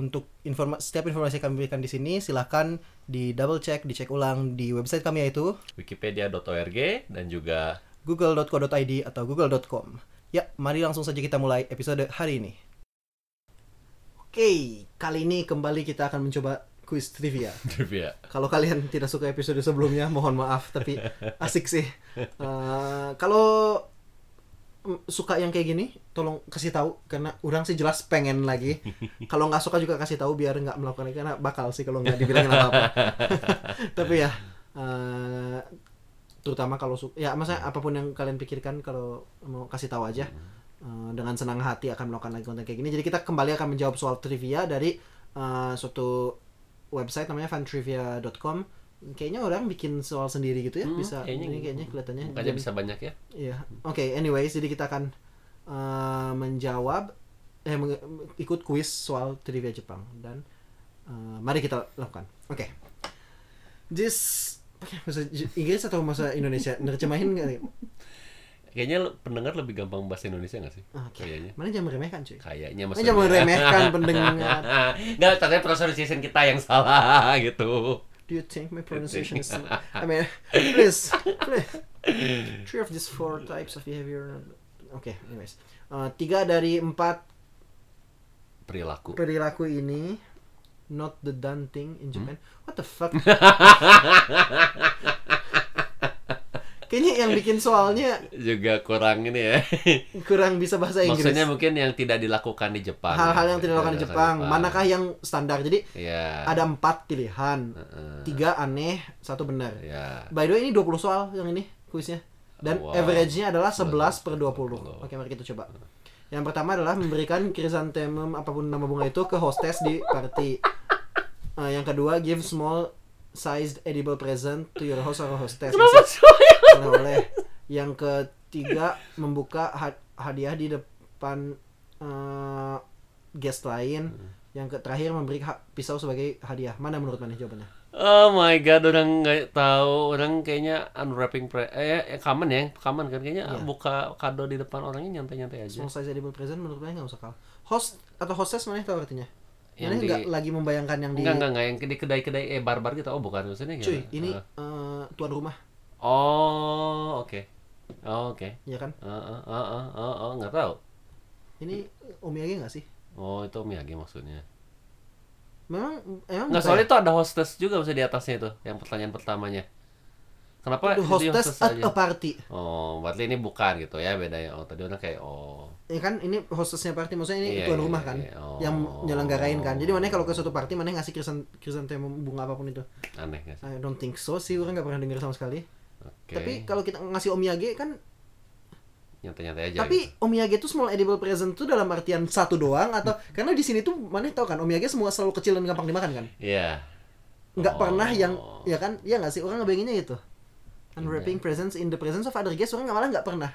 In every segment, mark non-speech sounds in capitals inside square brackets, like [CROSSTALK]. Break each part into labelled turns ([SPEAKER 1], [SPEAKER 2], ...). [SPEAKER 1] untuk informa setiap informasi yang kami berikan di sini silahkan di double check, dicek ulang di website kami yaitu
[SPEAKER 2] Wikipedia.org dan juga [LAUGHS]
[SPEAKER 1] google.co.id atau google.com. Ya, mari langsung saja kita mulai episode hari ini. Oke, kali ini kembali kita akan mencoba quiz trivia.
[SPEAKER 2] trivia.
[SPEAKER 1] Kalau kalian tidak suka episode sebelumnya, mohon maaf, tapi asik sih. Eh, kalau mm, suka yang kayak gini, tolong kasih tahu karena orang sih jelas pengen lagi. Kalau nggak suka juga kasih tahu biar nggak melakukan lagi karena bakal sih kalau nggak dibilangin apa-apa. tapi ya, eh, terutama kalau suka, ya maksudnya apapun yang kalian pikirkan kalau mau kasih tahu aja. Eh, dengan senang hati akan melakukan lagi konten kayak gini. Jadi kita kembali akan menjawab soal trivia dari eh, suatu website namanya fantrivia.com. Kayaknya orang bikin soal sendiri gitu ya,
[SPEAKER 2] Hmm,
[SPEAKER 1] bisa
[SPEAKER 2] kayaknya
[SPEAKER 1] ini
[SPEAKER 2] gitu.
[SPEAKER 1] kayaknya kelihatannya.
[SPEAKER 2] Makanya
[SPEAKER 1] Jadi-
[SPEAKER 2] bisa banyak ya.
[SPEAKER 1] Iya. Oke, anyways, jadi kita akan eh, menjawab eh meng- ikut kuis soal trivia Jepang dan eh, mari kita lakukan. Oke. This pakai bahasa J- Inggris atau bahasa Indonesia? Nerjemahin nggak? nih?
[SPEAKER 2] Kayaknya le- pendengar lebih gampang bahasa Indonesia nggak sih?
[SPEAKER 1] Ah, Oke.
[SPEAKER 2] Kayaknya.
[SPEAKER 1] Mana jangan meremehkan, cuy.
[SPEAKER 2] Kayaknya
[SPEAKER 1] Mana jangan
[SPEAKER 2] [LAUGHS]
[SPEAKER 1] meremehkan pendengar.
[SPEAKER 2] Nggak, ternyata pronunciation kita yang salah [LAUGHS] gitu.
[SPEAKER 1] Do you think my pronunciation is? I mean, please, please. Three of these four types of behavior. Oke, anyways. Eh, tiga dari empat
[SPEAKER 2] Perilaku. Hmm?
[SPEAKER 1] perilaku ini not the done thing in Japan. What the fuck? Kayaknya yang bikin soalnya
[SPEAKER 2] Juga kurang ini ya.
[SPEAKER 1] kurang bisa bahasa Inggris.
[SPEAKER 2] Maksudnya mungkin yang tidak dilakukan di Jepang. ya.
[SPEAKER 1] hal-hal yang tidak dilakukan di Jepang. Manakah yang standar? Jadi
[SPEAKER 2] Iya.
[SPEAKER 1] ada empat pilihan,
[SPEAKER 2] Heeh.
[SPEAKER 1] tiga aneh, satu benar.
[SPEAKER 2] Iya.
[SPEAKER 1] By the way ini 20 soal yang ini kuisnya. Dan
[SPEAKER 2] Wow.
[SPEAKER 1] average-nya adalah 11 per 20.
[SPEAKER 2] 20.
[SPEAKER 1] Oke, mari kita coba. Yang pertama adalah memberikan chrysanthemum apapun nama bunga itu ke hostess di party. Eh, yang kedua, give small sized edible present to your host or hostess.
[SPEAKER 2] Kenapa semuanya?
[SPEAKER 1] Nggak boleh. Yang ketiga, membuka ha- hadiah di depan eh, guest lain. Yang ke terakhir memberi ha- pisau sebagai hadiah. Mana menurut mana jawabannya?
[SPEAKER 2] Oh my god, orang nggak tahu, orang kayaknya unwrapping pre eh eh, common ya, common kan kayaknya
[SPEAKER 1] Iya.
[SPEAKER 2] buka kado di depan orangnya nyantai-nyantai aja.
[SPEAKER 1] Small size edible present menurut gue nggak usah kalah. Host atau hostess mana tahu artinya?
[SPEAKER 2] Yang
[SPEAKER 1] Mana
[SPEAKER 2] di-
[SPEAKER 1] nggak lagi membayangkan yang di
[SPEAKER 2] Enggak enggak enggak yang di kedai-kedai eh barbar gitu. Oh, bukan maksudnya gimana?
[SPEAKER 1] cuy ini
[SPEAKER 2] Eh,
[SPEAKER 1] eh, tuan rumah
[SPEAKER 2] Oh, oke. Oh, oke. eh,
[SPEAKER 1] ya kan?
[SPEAKER 2] Heeh, heeh, heeh, heeh, nggak tahu.
[SPEAKER 1] Ini omiyage nggak sih?
[SPEAKER 2] Oh, itu Miyagi maksudnya.
[SPEAKER 1] Memang emang bukan
[SPEAKER 2] Enggak, soalnya
[SPEAKER 1] ya?
[SPEAKER 2] itu ada hostess juga maksudnya di atasnya itu, yang pertanyaan pertamanya. Kenapa
[SPEAKER 1] Itu
[SPEAKER 2] jadi
[SPEAKER 1] hostess at
[SPEAKER 2] aja?
[SPEAKER 1] a party.
[SPEAKER 2] Oh, berarti ini bukan gitu ya bedanya. Oh, tadi orang kayak oh.
[SPEAKER 1] Ya kan ini hostessnya party maksudnya ini
[SPEAKER 2] Iya,
[SPEAKER 1] tuan
[SPEAKER 2] iya,
[SPEAKER 1] rumah
[SPEAKER 2] iya,
[SPEAKER 1] kan
[SPEAKER 2] iya. Oh.
[SPEAKER 1] yang nyelenggarain kan. Jadi mana kalau ke suatu party mana ngasih krisan krisantemum bunga apapun itu?
[SPEAKER 2] Aneh nggak sih?
[SPEAKER 1] I don't think so sih orang nggak pernah dengar sama sekali.
[SPEAKER 2] Oke.
[SPEAKER 1] Tapi kalau kita ngasih omiyage kan
[SPEAKER 2] nyantai-nyantai aja. gitu.
[SPEAKER 1] Tapi omiyage itu small edible present tuh dalam artian satu doang atau karena di sini tuh mana tahu kan omiyage semua selalu kecil dan gampang dimakan kan?
[SPEAKER 2] Iya.
[SPEAKER 1] Nggak
[SPEAKER 2] Oh.
[SPEAKER 1] pernah yang ya kan? Ya nggak sih orang ngebayanginnya gitu. Unwrapping presents in the presence of other guests orang nggak malah nggak pernah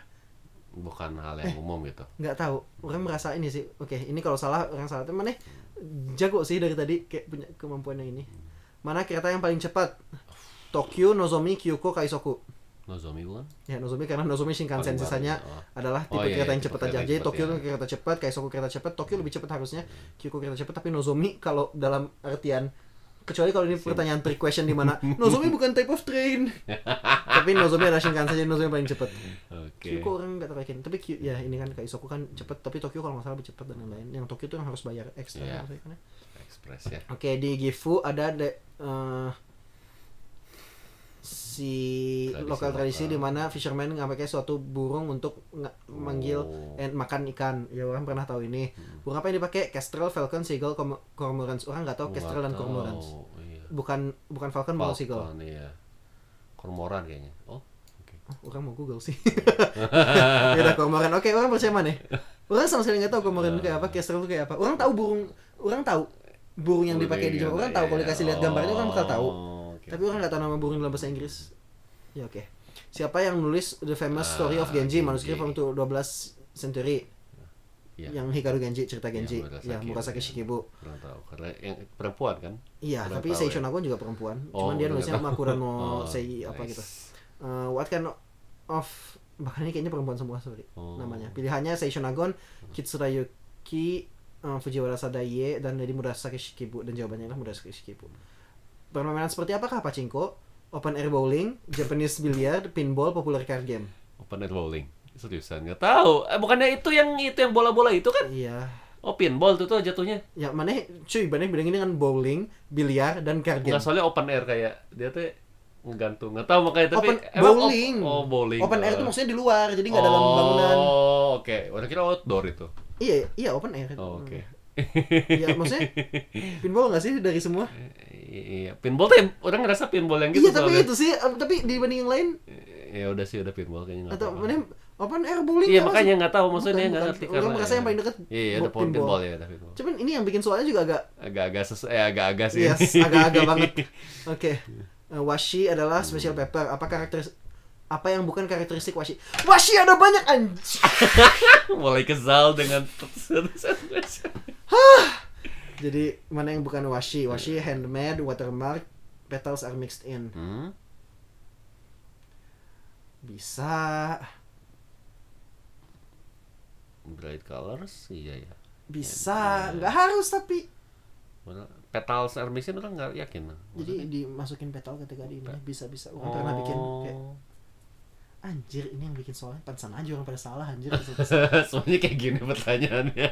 [SPEAKER 2] bukan hal yang umum gitu.
[SPEAKER 1] nggak tahu orang merasa ini sih oke ini kalau salah orang salah teman jago sih dari tadi kayak punya kemampuan yang ini mana kereta yang paling cepat Tokyo Nozomi Kyoko Kaisoku
[SPEAKER 2] Nozomi bukan?
[SPEAKER 1] ya Nozomi karena Nozomi Shinkansen
[SPEAKER 2] Paling baru,
[SPEAKER 1] sisanya
[SPEAKER 2] oh.
[SPEAKER 1] adalah tipe
[SPEAKER 2] Oh, iya,
[SPEAKER 1] kereta
[SPEAKER 2] iya,
[SPEAKER 1] yang
[SPEAKER 2] tipe
[SPEAKER 1] cepat
[SPEAKER 2] kereta
[SPEAKER 1] aja.
[SPEAKER 2] yang
[SPEAKER 1] Jadi
[SPEAKER 2] cepat,
[SPEAKER 1] Tokyo
[SPEAKER 2] iya. Hmm.
[SPEAKER 1] tuh kereta cepat, Kaisoku kereta cepat, Tokyo lebih cepat harusnya, Kyoko kereta cepat, tapi Nozomi kalau dalam artian kecuali kalau ini pertanyaan trick question di
[SPEAKER 2] [LAUGHS]
[SPEAKER 1] mana Nozomi bukan type of train. tapi Nozomi adalah Shinkansen jadi Nozomi paling cepat.
[SPEAKER 2] Oke.
[SPEAKER 1] Kyoko orang nggak terlalu yakin. tapi Ky- ya ini kan Kaisoku kan cepat, tapi Tokyo kalau nggak salah lebih cepat dan lain-lain. Yang Tokyo tuh yang harus bayar ekstra
[SPEAKER 2] Iya.
[SPEAKER 1] maksudnya kan ya.
[SPEAKER 2] Express ya.
[SPEAKER 1] Oke, di Gifu ada de, eh, si
[SPEAKER 2] Tradisi
[SPEAKER 1] lokal tradisi
[SPEAKER 2] lokal.
[SPEAKER 1] di mana fisherman nggak pakai suatu burung untuk nge- manggil
[SPEAKER 2] Oh. Hmm.
[SPEAKER 1] and makan ikan. Ya orang pernah tahu ini. Burung apa yang dipakai? Kestrel, falcon, seagull, com- cormorants. Orang nggak tahu
[SPEAKER 2] Nggak
[SPEAKER 1] kestrel dan
[SPEAKER 2] tahu,
[SPEAKER 1] cormorants.
[SPEAKER 2] Iya.
[SPEAKER 1] Bukan bukan falcon, bukan seagull.
[SPEAKER 2] [LAUGHS] Falcon, iya. Kormoran kayaknya. Oh, oke.
[SPEAKER 1] Oh, orang mau Google sih. [LAUGHS] ya udah cormorant. Oke, orang percaya mana? Orang sama sekali nggak tahu cormorant kayak apa, kestrel itu kayak apa. Orang tahu burung, orang tahu burung yang dipakai di Jepang orang tahu
[SPEAKER 2] Iya,
[SPEAKER 1] kalau dikasih
[SPEAKER 2] oh,
[SPEAKER 1] lihat gambarnya orang bakal tahu. Tapi
[SPEAKER 2] Tapi
[SPEAKER 1] orang nggak tahu nama burung dalam bahasa Inggris. Ya oke. Siapa yang nulis The Famous
[SPEAKER 2] Ah,
[SPEAKER 1] Story of Genji,
[SPEAKER 2] Genji.
[SPEAKER 1] manuskrip from to 12 century?
[SPEAKER 2] Ya.
[SPEAKER 1] Yang Hikaru Genji, cerita Genji.
[SPEAKER 2] Murasaki.
[SPEAKER 1] Ya, Murasaki Shikibu.
[SPEAKER 2] orang tahu karena yang perempuan kan.
[SPEAKER 1] Iya,
[SPEAKER 2] Kurang
[SPEAKER 1] tapi
[SPEAKER 2] tahu
[SPEAKER 1] Seishon
[SPEAKER 2] ya.
[SPEAKER 1] Agon juga perempuan.
[SPEAKER 2] Oh,
[SPEAKER 1] Cuman dia
[SPEAKER 2] bener.
[SPEAKER 1] nulisnya Makura no
[SPEAKER 2] [LAUGHS] Oh,
[SPEAKER 1] Sei apa
[SPEAKER 2] nice.
[SPEAKER 1] gitu. Eh, what kind of bahkan ini kayaknya perempuan semua sorry
[SPEAKER 2] Oh.
[SPEAKER 1] namanya. Pilihannya Seishon Agon, Kitsura Yuki, eh, Fujiwara Sadaie dan dari Murasaki Shikibu dan jawabannya adalah Murasaki Shikibu. Permainan seperti apakah pachinko? Open air bowling, Japanese billiard, pinball, popular card game.
[SPEAKER 2] Open air bowling. Seriusan nggak tahu. Eh, bukannya itu yang itu yang bola-bola itu kan?
[SPEAKER 1] Iya.
[SPEAKER 2] Oh, pinball tuh tuh jatuhnya.
[SPEAKER 1] Ya mana cuy, banyak bedanya dengan bowling, biliar dan card game.
[SPEAKER 2] Enggak soalnya open air kayak dia tuh ngegantung. Nggak tahu makanya
[SPEAKER 1] open
[SPEAKER 2] tapi emang op-
[SPEAKER 1] bowling.
[SPEAKER 2] oh, bowling.
[SPEAKER 1] Open air
[SPEAKER 2] Eh.
[SPEAKER 1] itu maksudnya di luar, jadi nggak dalam bangunan.
[SPEAKER 2] Oh, oke. Orang kira outdoor itu.
[SPEAKER 1] Iya, iya open air.
[SPEAKER 2] Oh, oke. [LAUGHS]
[SPEAKER 1] Iya, maksudnya pinball nggak sih dari semua?
[SPEAKER 2] Iya, pinball tuh orang ngerasa pinball yang gitu
[SPEAKER 1] iya, tapi
[SPEAKER 2] soalnya.
[SPEAKER 1] itu sih, eh, tapi dibanding yang lain
[SPEAKER 2] Ya udah sih udah pinball kayaknya nggak
[SPEAKER 1] atau
[SPEAKER 2] apa-apa.
[SPEAKER 1] mana open air bowling ya,
[SPEAKER 2] Nah, Iya
[SPEAKER 1] nggak
[SPEAKER 2] makanya
[SPEAKER 1] masuk?
[SPEAKER 2] nggak tahu
[SPEAKER 1] Bukan,
[SPEAKER 2] maksudnya nggak
[SPEAKER 1] bukan.
[SPEAKER 2] ngerti
[SPEAKER 1] Orang merasa yang paling deket
[SPEAKER 2] Iya, iya, ada
[SPEAKER 1] bo-
[SPEAKER 2] pinball.
[SPEAKER 1] pinball.
[SPEAKER 2] ya, ada pinball.
[SPEAKER 1] Cuman ini yang bikin soalnya juga agak
[SPEAKER 2] Agak-agak ses eh, agak-agak sih.
[SPEAKER 1] yes,
[SPEAKER 2] [LAUGHS]
[SPEAKER 1] agak-agak banget. Oke. Eh, washi adalah special paper. Apa karakter apa yang bukan karakteristik washi? Washi ada banyak anjing.
[SPEAKER 2] Mulai kesal dengan
[SPEAKER 1] [LAUGHS] Jadi mana yang bukan washi? Washi handmade, watermark, petals are mixed in.
[SPEAKER 2] Hmm?
[SPEAKER 1] Bisa,
[SPEAKER 2] Bright colors, iya ya.
[SPEAKER 1] bisa, nggak harus tapi
[SPEAKER 2] Mana- Petals are missing orang nggak yakin.
[SPEAKER 1] Jadi dimasukin petal ketika di ini bisa bisa orang
[SPEAKER 2] Oh.
[SPEAKER 1] pernah bikin kayak
[SPEAKER 2] [LAUGHS]
[SPEAKER 1] anjir ini yang bikin soalnya pantesan aja orang pada salah anjir
[SPEAKER 2] [LAUGHS] Semuanya kayak gini pertanyaannya.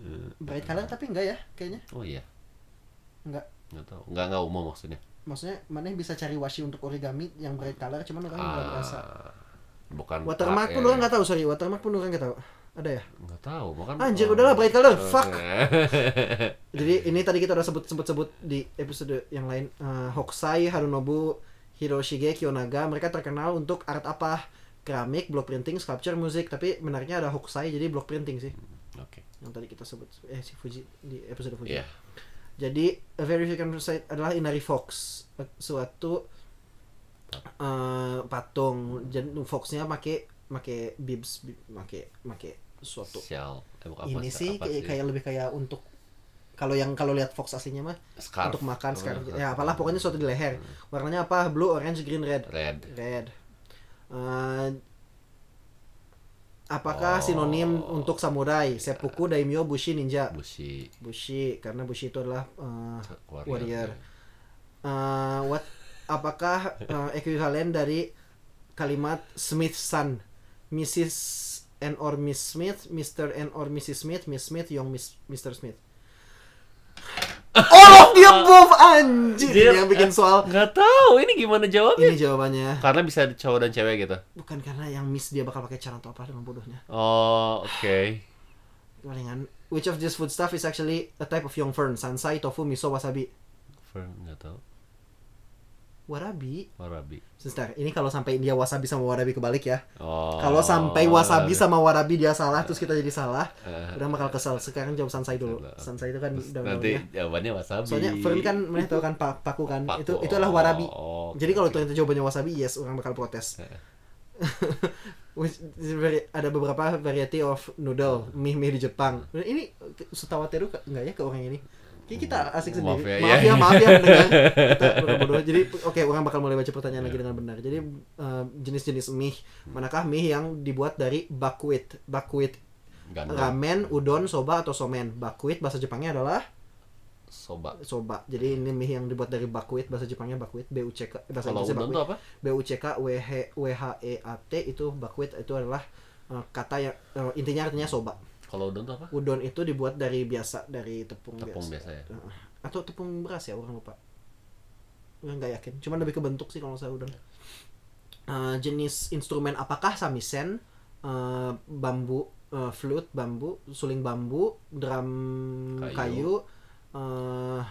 [SPEAKER 2] Eh,
[SPEAKER 1] bright color tapi enggak ya kayaknya
[SPEAKER 2] oh iya,
[SPEAKER 1] enggak
[SPEAKER 2] nggak tahu, nggak nggak umum maksudnya.
[SPEAKER 1] maksudnya mana yang bisa cari washi untuk origami yang bright color cuman orang nggak berasa
[SPEAKER 2] Ah, iya, bukan.
[SPEAKER 1] watermark pun orang nggak tahu sorry watermark pun orang nggak tahu ada ya
[SPEAKER 2] Nggak tahu, Oh. makan.
[SPEAKER 1] Anjir, udahlah, bright color, fuck. jadi ini tadi kita udah sebut sebut sebut di episode yang lain Eh, Hokusai Harunobu Hiroshige Kiyonaga mereka terkenal untuk art apa keramik block printing sculpture musik tapi menariknya ada Hokusai jadi block printing sih
[SPEAKER 2] [LAUGHS] Oke.
[SPEAKER 1] yang tadi kita sebut eh si Fuji di episode Fuji.
[SPEAKER 2] Iya.
[SPEAKER 1] Jadi a verification site adalah Inari Fox, eh, suatu eh, patung. Jadi foxnya pakai pakai bibs, pakai pakai suatu.
[SPEAKER 2] Shell. Eh, bukan apa,
[SPEAKER 1] Ini sih
[SPEAKER 2] apa
[SPEAKER 1] kayak, kayak lebih kayak untuk kalau yang kalau lihat fox aslinya mah
[SPEAKER 2] Scarf.
[SPEAKER 1] untuk makan
[SPEAKER 2] Apa
[SPEAKER 1] sekarang
[SPEAKER 2] namanya?
[SPEAKER 1] ya apalah pokoknya Ya. suatu di leher. Warnanya apa? Blue, orange, green, Hmm. red.
[SPEAKER 2] Red.
[SPEAKER 1] Red. Eh, apakah
[SPEAKER 2] Oh.
[SPEAKER 1] sinonim untuk samurai? Seppuku, daimyo, bushi, ninja.
[SPEAKER 2] Bushi.
[SPEAKER 1] Bushi karena bushi itu adalah eh,
[SPEAKER 2] Warrior.
[SPEAKER 1] warrior. Eh, what apakah eh, ekuivalen dari kalimat Smith son? Mrs. and or Miss Smith, Mr. and or Mrs. Smith, Miss Smith, Young Miss, Mr. Smith. All of the above anjir
[SPEAKER 2] Dia-
[SPEAKER 1] Ini yang bikin soal
[SPEAKER 2] Nggak tahu ini gimana jawabnya.
[SPEAKER 1] ini jawabannya.
[SPEAKER 2] Karena bisa ada cowok dan cewek gitu.
[SPEAKER 1] bukan karena yang miss dia bakal pakai cara atau apa dengan bodohnya
[SPEAKER 2] Oh, oke.
[SPEAKER 1] palingan which of this food stuff is actually a type of young fern sansai tofu miso wasabi
[SPEAKER 2] Fern nggak tahu.
[SPEAKER 1] warabi
[SPEAKER 2] Warabi.
[SPEAKER 1] sebentar ini kalau sampai dia wasabi sama warabi kebalik ya
[SPEAKER 2] Oh.
[SPEAKER 1] kalau sampai wasabi sama warabi dia salah terus kita jadi salah
[SPEAKER 2] Eh.
[SPEAKER 1] udah bakal kesal sekarang jawab sansai dulu
[SPEAKER 2] Salah.
[SPEAKER 1] sansai itu kan
[SPEAKER 2] Terus nanti
[SPEAKER 1] daun-daunnya
[SPEAKER 2] jawabannya wasabi.
[SPEAKER 1] soalnya fern kan mana tahu kan pa- paku kan
[SPEAKER 2] Paku.
[SPEAKER 1] itu itu adalah warabi
[SPEAKER 2] Oh, oke,
[SPEAKER 1] jadi kalau
[SPEAKER 2] oke.
[SPEAKER 1] ternyata jawabannya wasabi yes orang bakal protes
[SPEAKER 2] Eh.
[SPEAKER 1] [LAUGHS] Which is very- ada beberapa variety of noodle mie mie di Jepang. Ini Sutawateru ke- enggak ya ke orang ini? Kayak kita asik
[SPEAKER 2] Maaf
[SPEAKER 1] sendiri.
[SPEAKER 2] ya,
[SPEAKER 1] Maaf
[SPEAKER 2] iya.
[SPEAKER 1] ya, maaf ya
[SPEAKER 2] [LAUGHS]
[SPEAKER 1] pendengar. Kita bodoh-bodoh. Jadi oke, orang bakal mulai baca pertanyaan
[SPEAKER 2] Iya.
[SPEAKER 1] lagi dengan benar. Jadi eh, jenis-jenis mie, manakah mie yang dibuat dari buckwheat? Buckwheat
[SPEAKER 2] Gandum.
[SPEAKER 1] ramen, udon, soba atau somen. Buckwheat bahasa Jepangnya adalah
[SPEAKER 2] Soba.
[SPEAKER 1] soba. Jadi ini mie yang dibuat dari buckwheat, bahasa Jepangnya buckwheat, B U C K eh, bahasa
[SPEAKER 2] Kalau
[SPEAKER 1] Inggrisnya
[SPEAKER 2] udon
[SPEAKER 1] buckwheat.
[SPEAKER 2] tuh apa?
[SPEAKER 1] BUCK WH WHEAT E itu buckwheat itu adalah eh, kata yang eh, intinya artinya soba.
[SPEAKER 2] Kalau udon tuh apa?
[SPEAKER 1] Udon itu dibuat dari biasa dari tepung,
[SPEAKER 2] Tepung
[SPEAKER 1] biasa.
[SPEAKER 2] biasa ya.
[SPEAKER 1] Heeh. Atau tepung beras ya orang lupa. Orang nggak yakin. Cuman lebih ke bentuk sih kalau saya udon.
[SPEAKER 2] Ya.
[SPEAKER 1] Eh, jenis instrumen apakah samisen, eh, bambu, eh, flute, bambu, suling bambu, drum
[SPEAKER 2] Kayu.
[SPEAKER 1] kayu, eh,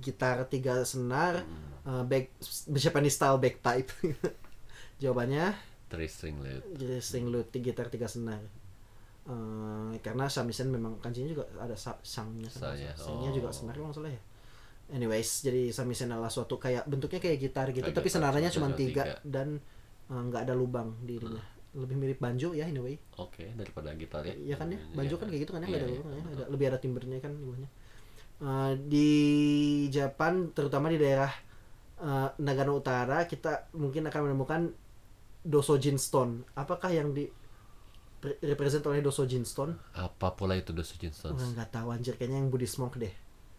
[SPEAKER 1] gitar tiga senar,
[SPEAKER 2] Hmm.
[SPEAKER 1] eh, back Japanese style bagpipe. [LAUGHS] Jawabannya
[SPEAKER 2] Three string lute.
[SPEAKER 1] jadi string lute gitar tiga senar. Eh, karena samisen memang kanjinya juga ada sa- sangnya sama-
[SPEAKER 2] Sangnya,
[SPEAKER 1] sangnya
[SPEAKER 2] oh.
[SPEAKER 1] juga senar kalau nggak salah ya anyways jadi samisen adalah suatu kayak bentuknya kayak gitar gitu
[SPEAKER 2] Kayak
[SPEAKER 1] tapi
[SPEAKER 2] gitar,
[SPEAKER 1] senarnya
[SPEAKER 2] cuma
[SPEAKER 1] cuma tiga,
[SPEAKER 2] tiga. Hmm.
[SPEAKER 1] dan eh, nggak ada lubang di ininya lebih mirip banjo ya anyway
[SPEAKER 2] Oke, daripada gitar ya.
[SPEAKER 1] Iya kan ya, banjo kan kayak gitu kan ya, nggak
[SPEAKER 2] Iya,
[SPEAKER 1] ada
[SPEAKER 2] iya,
[SPEAKER 1] lubang kan ya,
[SPEAKER 2] betul.
[SPEAKER 1] ada, lebih ada timbernya kan gimana? Eh, di Japan, terutama di daerah eh, Nagano Utara, kita mungkin akan menemukan Dosojin Stone. Apakah yang di pre- represent oleh Dosojin Stone?
[SPEAKER 2] Apa pula itu The Sujin Stones?
[SPEAKER 1] Orang nggak tahu anjir, kayaknya yang Buddhist monk deh.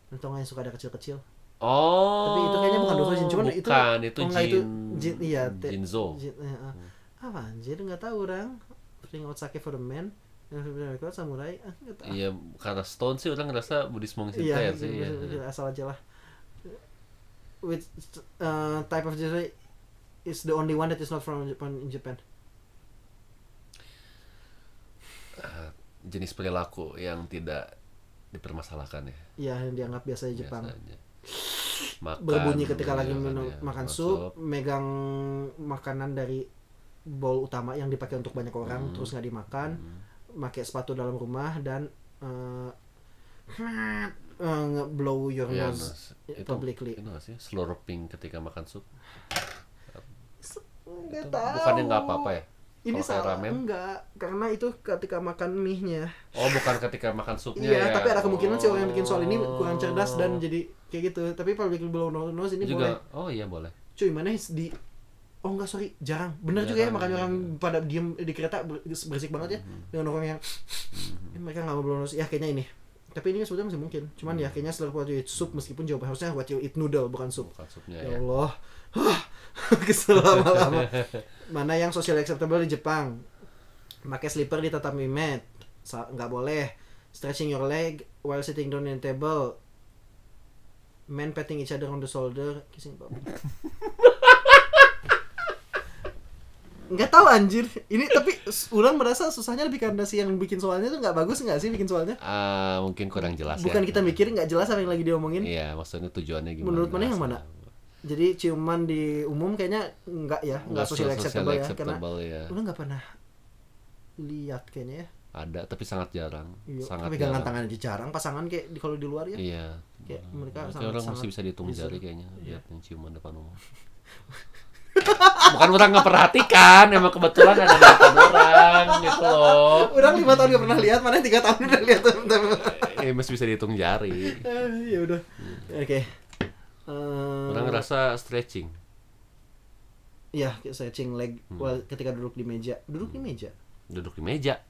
[SPEAKER 1] Lu tau nggak yang suka ada kecil-kecil?
[SPEAKER 2] Oh.
[SPEAKER 1] Tapi itu kayaknya bukan Dosojin, cuman itu-
[SPEAKER 2] bukan, itu
[SPEAKER 1] oh,
[SPEAKER 2] Jin.
[SPEAKER 1] nggak, itu Jin- iya, te-
[SPEAKER 2] Jinzo.
[SPEAKER 1] Jin- eh, eh.
[SPEAKER 2] Hmm.
[SPEAKER 1] Apa anjir, nggak tahu orang. Putting out sake for the man. Yang samurai, ah, nggak tahu.
[SPEAKER 2] Iya, karena Stone sih orang ngerasa Buddhis monk sih
[SPEAKER 1] Iya,
[SPEAKER 2] sih. Iya.
[SPEAKER 1] gitu, asal aja lah. Which uh, type of jewelry is the only one that is not from Japan in Japan?
[SPEAKER 2] Ah, jenis perilaku yang tidak dipermasalahkan ya.
[SPEAKER 1] Ya, yang dianggap biasa di Jepang. [LAUGHS]
[SPEAKER 2] biasa aja. Makan,
[SPEAKER 1] Berbunyi ketika
[SPEAKER 2] iya,
[SPEAKER 1] lagi
[SPEAKER 2] kan,
[SPEAKER 1] minum-
[SPEAKER 2] iya.
[SPEAKER 1] makan
[SPEAKER 2] Masuk.
[SPEAKER 1] sup, megang makanan dari bowl utama yang dipakai untuk banyak orang,
[SPEAKER 2] Hmm.
[SPEAKER 1] terus nggak dimakan,
[SPEAKER 2] Hmm.
[SPEAKER 1] pakai sepatu dalam rumah dan uh, uh, blow your
[SPEAKER 2] Iya,
[SPEAKER 1] nose
[SPEAKER 2] nose.
[SPEAKER 1] ya, publicly.
[SPEAKER 2] Itu nggak sih slurping ketika makan sup?
[SPEAKER 1] Nggak
[SPEAKER 2] Itu
[SPEAKER 1] tahu.
[SPEAKER 2] bukannya nggak apa-apa ya?
[SPEAKER 1] Ini
[SPEAKER 2] Kalau kayak
[SPEAKER 1] salah,
[SPEAKER 2] ramen?
[SPEAKER 1] enggak. Karena itu ketika makan mie-nya.
[SPEAKER 2] Oh, bukan ketika makan supnya
[SPEAKER 1] Iya,
[SPEAKER 2] ya.
[SPEAKER 1] tapi ada kemungkinan sih orang yang bikin soal ini
[SPEAKER 2] Oh.
[SPEAKER 1] kurang cerdas dan jadi kayak gitu. Tapi public below no- nose ini boleh.
[SPEAKER 2] juga. Oh iya boleh.
[SPEAKER 1] Cuy, mana is di Oh enggak, sorry, jarang. Bener juga ya
[SPEAKER 2] Jarang,
[SPEAKER 1] makanya
[SPEAKER 2] iya.
[SPEAKER 1] orang pada diem di kereta ber- berisik banget ya dengan orang yang "Ini mereka nggak mau blow nose. Ya kayaknya ini. Tapi ini sebetulnya masih mungkin. Cuman ya kayaknya setelah what you eat soup meskipun jawaban harusnya what you eat noodle bukan soup.
[SPEAKER 2] Bukan supnya
[SPEAKER 1] Ya
[SPEAKER 2] ya.
[SPEAKER 1] Allah. [LAUGHS] Kesel lama-lama. Mana yang social acceptable di Jepang? Pakai slipper di tatami mat. Sa- Nggak boleh. Stretching your leg while sitting down in table. Men patting each other on the shoulder, kissing bum. nggak tahu anjir ini tapi s- orang merasa susahnya lebih karena si yang bikin soalnya tuh nggak bagus nggak sih bikin soalnya
[SPEAKER 2] Ah, mungkin kurang jelas ya.
[SPEAKER 1] bukan kita mikir nggak jelas apa yang lagi diomongin
[SPEAKER 2] Iya, maksudnya tujuannya gimana?
[SPEAKER 1] Menurut mana yang mana? Jadi ciuman di umum kayaknya enggak ya, enggak social acceptable, ya
[SPEAKER 2] ya.
[SPEAKER 1] karena udah enggak pernah lihat kayaknya ya.
[SPEAKER 2] Ada, tapi sangat jarang.
[SPEAKER 1] Iya,
[SPEAKER 2] sangat
[SPEAKER 1] pegangan tangan di jarang, pasangan kayak di, kalau di luar ya.
[SPEAKER 2] Iya.
[SPEAKER 1] Kayak mereka
[SPEAKER 2] Berarti
[SPEAKER 1] sangat-
[SPEAKER 2] orang masih
[SPEAKER 1] sangat
[SPEAKER 2] bisa dihitung
[SPEAKER 1] bisa.
[SPEAKER 2] jari kayaknya
[SPEAKER 1] Iya.
[SPEAKER 2] lihat yang ciuman depan umum. Bukan orang nggak perhatikan, emang kebetulan ada di depan orang gitu loh.
[SPEAKER 1] Orang lima tahun gak pernah lihat, mana tiga tahun udah lihat. Bentar, bentar.
[SPEAKER 2] Eh, masih bisa dihitung jari.
[SPEAKER 1] Eh, ya udah. Oke. Eh,
[SPEAKER 2] Iya. Orang ngerasa stretching.
[SPEAKER 1] Iya, kayak stretching leg
[SPEAKER 2] Hmm.
[SPEAKER 1] while ketika duduk di meja. Duduk di meja?
[SPEAKER 2] Duduk di meja.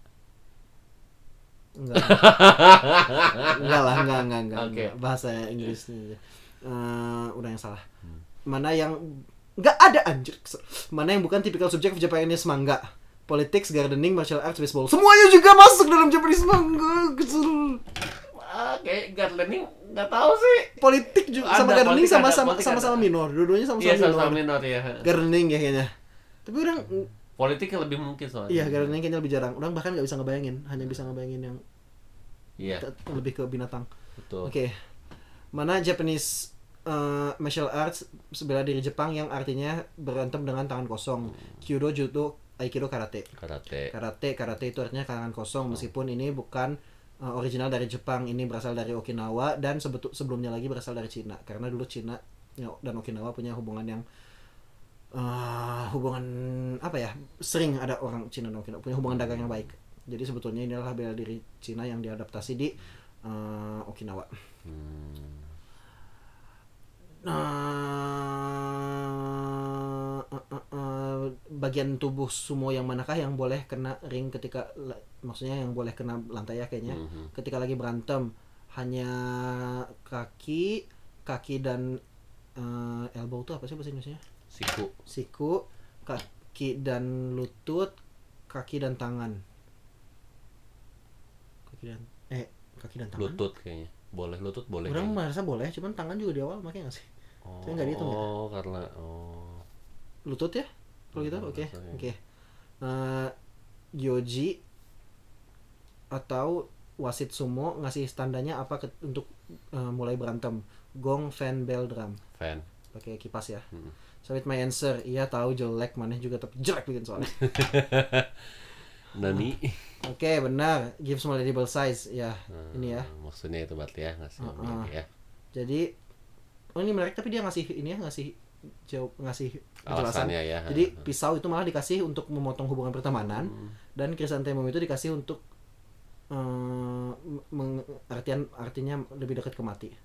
[SPEAKER 1] Enggak. enggak lah, enggak, enggak, enggak.
[SPEAKER 2] Oke.
[SPEAKER 1] enggak. Bahasa Inggrisnya aja. Eh, udah yang salah.
[SPEAKER 2] Hmm.
[SPEAKER 1] Mana yang enggak ada anjir. Kesel. Mana yang bukan tipikal subjek of Japanese manga? Politics, gardening, martial arts, baseball. Semuanya juga masuk dalam Japanese manga. Kesel.
[SPEAKER 2] Ah, kayak gardening nggak tahu sih.
[SPEAKER 1] Politik juga sama
[SPEAKER 2] Ada,
[SPEAKER 1] gardening
[SPEAKER 2] politik ada,
[SPEAKER 1] sama sama
[SPEAKER 2] politik
[SPEAKER 1] sama, sama
[SPEAKER 2] ada.
[SPEAKER 1] minor. Dua-duanya sama-sama
[SPEAKER 2] Iya,
[SPEAKER 1] minor.
[SPEAKER 2] sama minor ya.
[SPEAKER 1] Gardening ya kayaknya. Tapi orang
[SPEAKER 2] Politik lebih mungkin soalnya.
[SPEAKER 1] iya gardening kayaknya lebih jarang. Orang bahkan nggak bisa ngebayangin, hanya bisa ngebayangin yang
[SPEAKER 2] Iya,
[SPEAKER 1] lebih ke binatang.
[SPEAKER 2] betul.
[SPEAKER 1] Oke. Mana Japanese uh, martial arts bela diri Jepang yang artinya berantem dengan tangan kosong. Kyudo, judo, aikido, karate.
[SPEAKER 2] Karate.
[SPEAKER 1] Karate, karate itu artinya tangan kosong meskipun ini bukan uh, original dari Jepang, ini berasal dari Okinawa dan sebetul sebelumnya lagi berasal dari Cina karena dulu Cina ya, dan Okinawa punya hubungan yang uh, hubungan apa ya? Sering ada orang Cina dan Okinawa punya hubungan dagang yang baik. Jadi sebetulnya ini adalah bela diri Cina yang diadaptasi di uh, Okinawa.
[SPEAKER 2] Hmm.
[SPEAKER 1] Eh, Nah, eh, eh, eh, bagian tubuh sumo yang manakah yang boleh kena ring ketika la- maksudnya yang boleh kena lantai ya kayaknya
[SPEAKER 2] Mhm.
[SPEAKER 1] ketika lagi berantem hanya kaki kaki dan eh, elbow itu apa sih bahasa Indonesia
[SPEAKER 2] Siku.
[SPEAKER 1] siku kaki dan lutut kaki dan tangan kaki dan eh kaki dan tangan
[SPEAKER 2] Lutut kayaknya. Boleh lutut, boleh.
[SPEAKER 1] orang
[SPEAKER 2] kayaknya.
[SPEAKER 1] merasa boleh cuman tangan juga di awal makanya nggak sih
[SPEAKER 2] Oh,
[SPEAKER 1] saya nggak dihitung ya?
[SPEAKER 2] Oh, karena oh.
[SPEAKER 1] lutut ya kalau gitu
[SPEAKER 2] Lutut,
[SPEAKER 1] oke
[SPEAKER 2] rasanya.
[SPEAKER 1] oke Eh, Yoji atau wasit sumo ngasih tandanya apa ke- untuk eh, mulai berantem gong fan bell drum
[SPEAKER 2] fan.
[SPEAKER 1] pakai kipas ya
[SPEAKER 2] Mm.
[SPEAKER 1] so with my answer iya tahu jelek maneh juga tapi jelek bikin soalnya
[SPEAKER 2] Nani.
[SPEAKER 1] Oke, benar. Give small edible size. Ya, ini ya.
[SPEAKER 2] Hmm, Maksudnya itu berarti ya ngasih
[SPEAKER 1] Ah,
[SPEAKER 2] ini
[SPEAKER 1] ah.
[SPEAKER 2] ya.
[SPEAKER 1] Jadi oh ini menarik tapi dia ngasih ini ya, ngasih jawab ngasih penjelasan.
[SPEAKER 2] Alasannya ya.
[SPEAKER 1] Jadi pisau itu malah dikasih untuk memotong hubungan pertemanan dan krisantemum itu dikasih untuk eh, meng- artian artinya lebih dekat ke mati.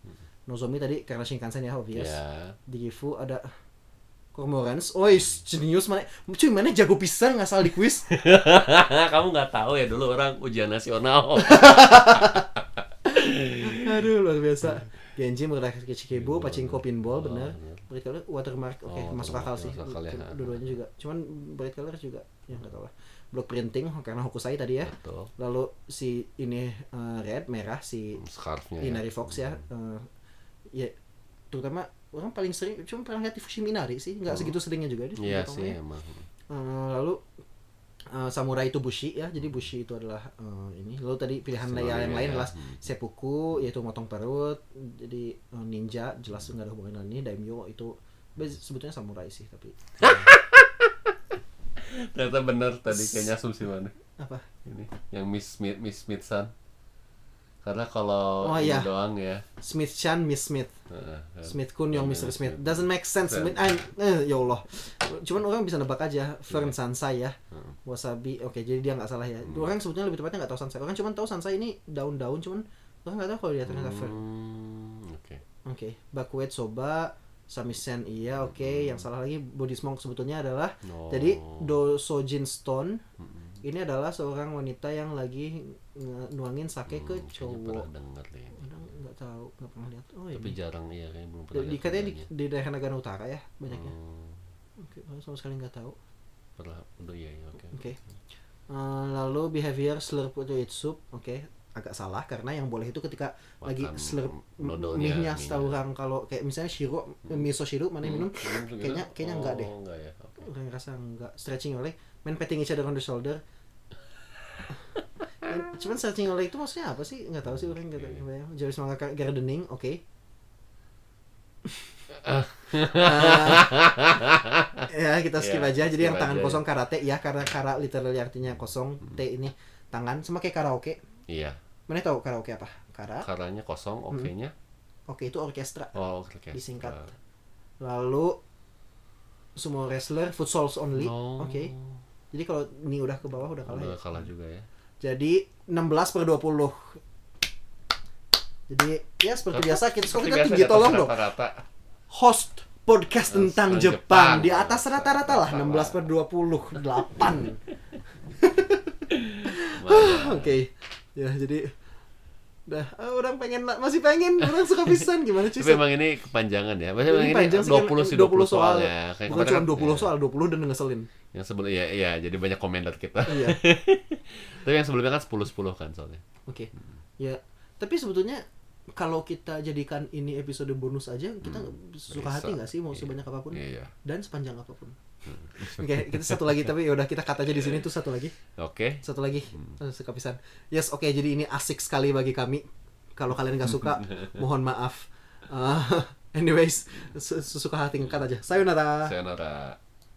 [SPEAKER 1] Nozomi tadi karena Shinkansen ya obvious.
[SPEAKER 2] Ya.
[SPEAKER 1] Di Gifu ada Cormorants. Oi, jenius mana? Cuy, mana jago pisan nggak salah di kuis.
[SPEAKER 2] [LAUGHS] Kamu nggak tahu ya dulu orang
[SPEAKER 1] [LAUGHS]
[SPEAKER 2] ujian nasional.
[SPEAKER 1] Aduh, luar
[SPEAKER 2] Iya.
[SPEAKER 1] biasa. Genji menggunakan Kichikibu, Pachinko Pinball, bener. Bright Color, Watermark, oke,
[SPEAKER 2] Oh,
[SPEAKER 1] masuk
[SPEAKER 2] watermark,
[SPEAKER 1] akal sih.
[SPEAKER 2] masuk akal ya.
[SPEAKER 1] Dua-duanya juga. Cuman Bright Color juga, ya nggak tahu lah. Block Printing, karena Hokusai tadi ya.
[SPEAKER 2] Betul.
[SPEAKER 1] Lalu si ini eh, red, merah, si
[SPEAKER 2] Scarfnya. ya.
[SPEAKER 1] Inari Fox ya. eh, ya, terutama orang paling sering, cuma pernah lihat di Fushimi Inari sih. Nggak ya. segitu seringnya juga. dia
[SPEAKER 2] Hmm. Iya
[SPEAKER 1] potongnya.
[SPEAKER 2] sih emang.
[SPEAKER 1] Eh, lalu eh, samurai itu bushi ya jadi bushi itu adalah eh, ini lalu tadi pilihan
[SPEAKER 2] Sinonim
[SPEAKER 1] layar yang
[SPEAKER 2] ya.
[SPEAKER 1] lain adalah
[SPEAKER 2] Hmm.
[SPEAKER 1] seppuku yaitu motong perut jadi eh, ninja jelas nggak ada hubungan dengan ini daimyo itu bas- sebetulnya samurai sih tapi
[SPEAKER 2] Ternyata bener tadi kayaknya asumsi mana.
[SPEAKER 1] apa
[SPEAKER 2] Ini yang Miss Smith Miss Smithson. Karena kalau
[SPEAKER 1] Oh,
[SPEAKER 2] ini
[SPEAKER 1] iya.
[SPEAKER 2] doang ya.
[SPEAKER 1] Smith Chan Miss Smith
[SPEAKER 2] Heeh, kan.
[SPEAKER 1] Smith Kun yang Mr. Smith
[SPEAKER 2] Smith.
[SPEAKER 1] doesn't make sense
[SPEAKER 2] Fern.
[SPEAKER 1] Smith Ay, eh, ya Allah cuman orang bisa nebak
[SPEAKER 2] Iya.
[SPEAKER 1] aja Fern Sansai ya
[SPEAKER 2] Hmm.
[SPEAKER 1] Wasabi oke jadi dia nggak salah ya orang sebetulnya lebih tepatnya nggak tahu Sansai orang cuma tahu Sansai ini daun-daun cuman orang nggak tahu kalau dia ternyata Fern
[SPEAKER 2] Hmm, Oke.
[SPEAKER 1] Oke, Bakuet soba, samisen iya, oke. Yang salah lagi Buddhist monk sebetulnya adalah
[SPEAKER 2] Hmm. No. Hmm.
[SPEAKER 1] jadi Dosojin Stone ini adalah seorang wanita yang lagi nge- nuangin sake ke
[SPEAKER 2] Hmm, kayaknya
[SPEAKER 1] cowok.
[SPEAKER 2] pernah denger deh ini.
[SPEAKER 1] Orang nggak tahu, nggak pernah lihat. Oh
[SPEAKER 2] Tapi
[SPEAKER 1] ini.
[SPEAKER 2] jarang ya kayaknya belum
[SPEAKER 1] Di-
[SPEAKER 2] pernah. lihat
[SPEAKER 1] di- katanya di,
[SPEAKER 2] fotonya.
[SPEAKER 1] di daerah Nagano Utara ya banyaknya.
[SPEAKER 2] Hmm,
[SPEAKER 1] Oke, orang sama sekali nggak tahu.
[SPEAKER 2] pernah udah iya iya, oke.
[SPEAKER 1] Oke. Eh, lalu behavior slurp itu eat soup, oke. Agak salah karena yang boleh itu ketika
[SPEAKER 2] Makan
[SPEAKER 1] lagi slurp
[SPEAKER 2] nodolnya,
[SPEAKER 1] mie-nya
[SPEAKER 2] mie-nya.
[SPEAKER 1] setahu orang kalau kayak misalnya shiro,
[SPEAKER 2] Hmm.
[SPEAKER 1] miso shiro mana yang minum kayaknya kayaknya enggak deh.
[SPEAKER 2] Oh, enggak ya. Oke.
[SPEAKER 1] orang ngerasa nggak stretching oleh main petting each other on the
[SPEAKER 2] [LAUGHS]
[SPEAKER 1] shoulder Ya, cuman stretching oleh itu maksudnya apa sih nggak tahu sih orang nggak tahu ya.
[SPEAKER 2] Oke.
[SPEAKER 1] kebayang. Jarvis mangga gardening oke
[SPEAKER 2] [LAUGHS] Ah.
[SPEAKER 1] Ah. ya kita skip
[SPEAKER 2] Ya,
[SPEAKER 1] aja jadi
[SPEAKER 2] skip
[SPEAKER 1] yang tangan
[SPEAKER 2] aja.
[SPEAKER 1] kosong karate ya karena kara literally artinya kosong t ini tangan sama kayak karaoke
[SPEAKER 2] Iya.
[SPEAKER 1] mana tahu karaoke apa kara
[SPEAKER 2] Karanya kosong, oke-nya.
[SPEAKER 1] oke itu orkestra
[SPEAKER 2] Oh, oke. oke.
[SPEAKER 1] Hmm. Disingkat.
[SPEAKER 2] Ah.
[SPEAKER 1] lalu sumo wrestler footsoles only
[SPEAKER 2] No.
[SPEAKER 1] oke jadi kalau ini udah ke bawah udah kalah ya?
[SPEAKER 2] Udah kalah juga ya.
[SPEAKER 1] Jadi 16 per 20. Jadi ya seperti biasa kita kok kita tinggi tolong dong. [LAUGHS]
[SPEAKER 2] Rata-rata.
[SPEAKER 1] Host podcast
[SPEAKER 2] Host
[SPEAKER 1] tentang
[SPEAKER 2] tentang
[SPEAKER 1] Jepang.
[SPEAKER 2] Jepang.
[SPEAKER 1] di atas rata-rata lah 16
[SPEAKER 2] Rata-rata.
[SPEAKER 1] per 28.
[SPEAKER 2] [LAUGHS] Mana?
[SPEAKER 1] [LAUGHS] Oke. Ya jadi dah ah, orang pengen la- masih pengen orang suka pisan gimana cuy?
[SPEAKER 2] Tapi emang ini kepanjangan ya. Maksudnya
[SPEAKER 1] Ini
[SPEAKER 2] emang ini
[SPEAKER 1] panjang sih,
[SPEAKER 2] 20 sih 20 soal ya. Kayak
[SPEAKER 1] Bukan
[SPEAKER 2] kemarin
[SPEAKER 1] cuma
[SPEAKER 2] kan-
[SPEAKER 1] 20
[SPEAKER 2] ya,
[SPEAKER 1] soal, 20 dan ngeselin.
[SPEAKER 2] Yang sebelum iya iya jadi banyak komentar kita.
[SPEAKER 1] Iya.
[SPEAKER 2] Tapi yang sebelumnya kan 10 10 kan soalnya.
[SPEAKER 1] Oke. Ya, tapi sebetulnya kalau kita jadikan ini episode bonus aja, kita suka
[SPEAKER 2] Hmm. bisa.
[SPEAKER 1] hati nggak sih mau
[SPEAKER 2] Iya.
[SPEAKER 1] sebanyak apapun
[SPEAKER 2] Iya, Hmm. iya.
[SPEAKER 1] dan sepanjang apapun. Oke, kita satu lagi tapi ya udah kita kata aja di sini tuh satu lagi,
[SPEAKER 2] Oke.
[SPEAKER 1] satu lagi,
[SPEAKER 2] Hmm.
[SPEAKER 1] Eh, sekapisan. Yes, oke. jadi ini asik sekali bagi kami. Kalau kalian nggak
[SPEAKER 2] [LAUGHS]
[SPEAKER 1] suka, mohon [LAUGHS] maaf. Eh, anyways, su- sesuka hati ngekat aja. Sayonara.
[SPEAKER 2] Sayonara.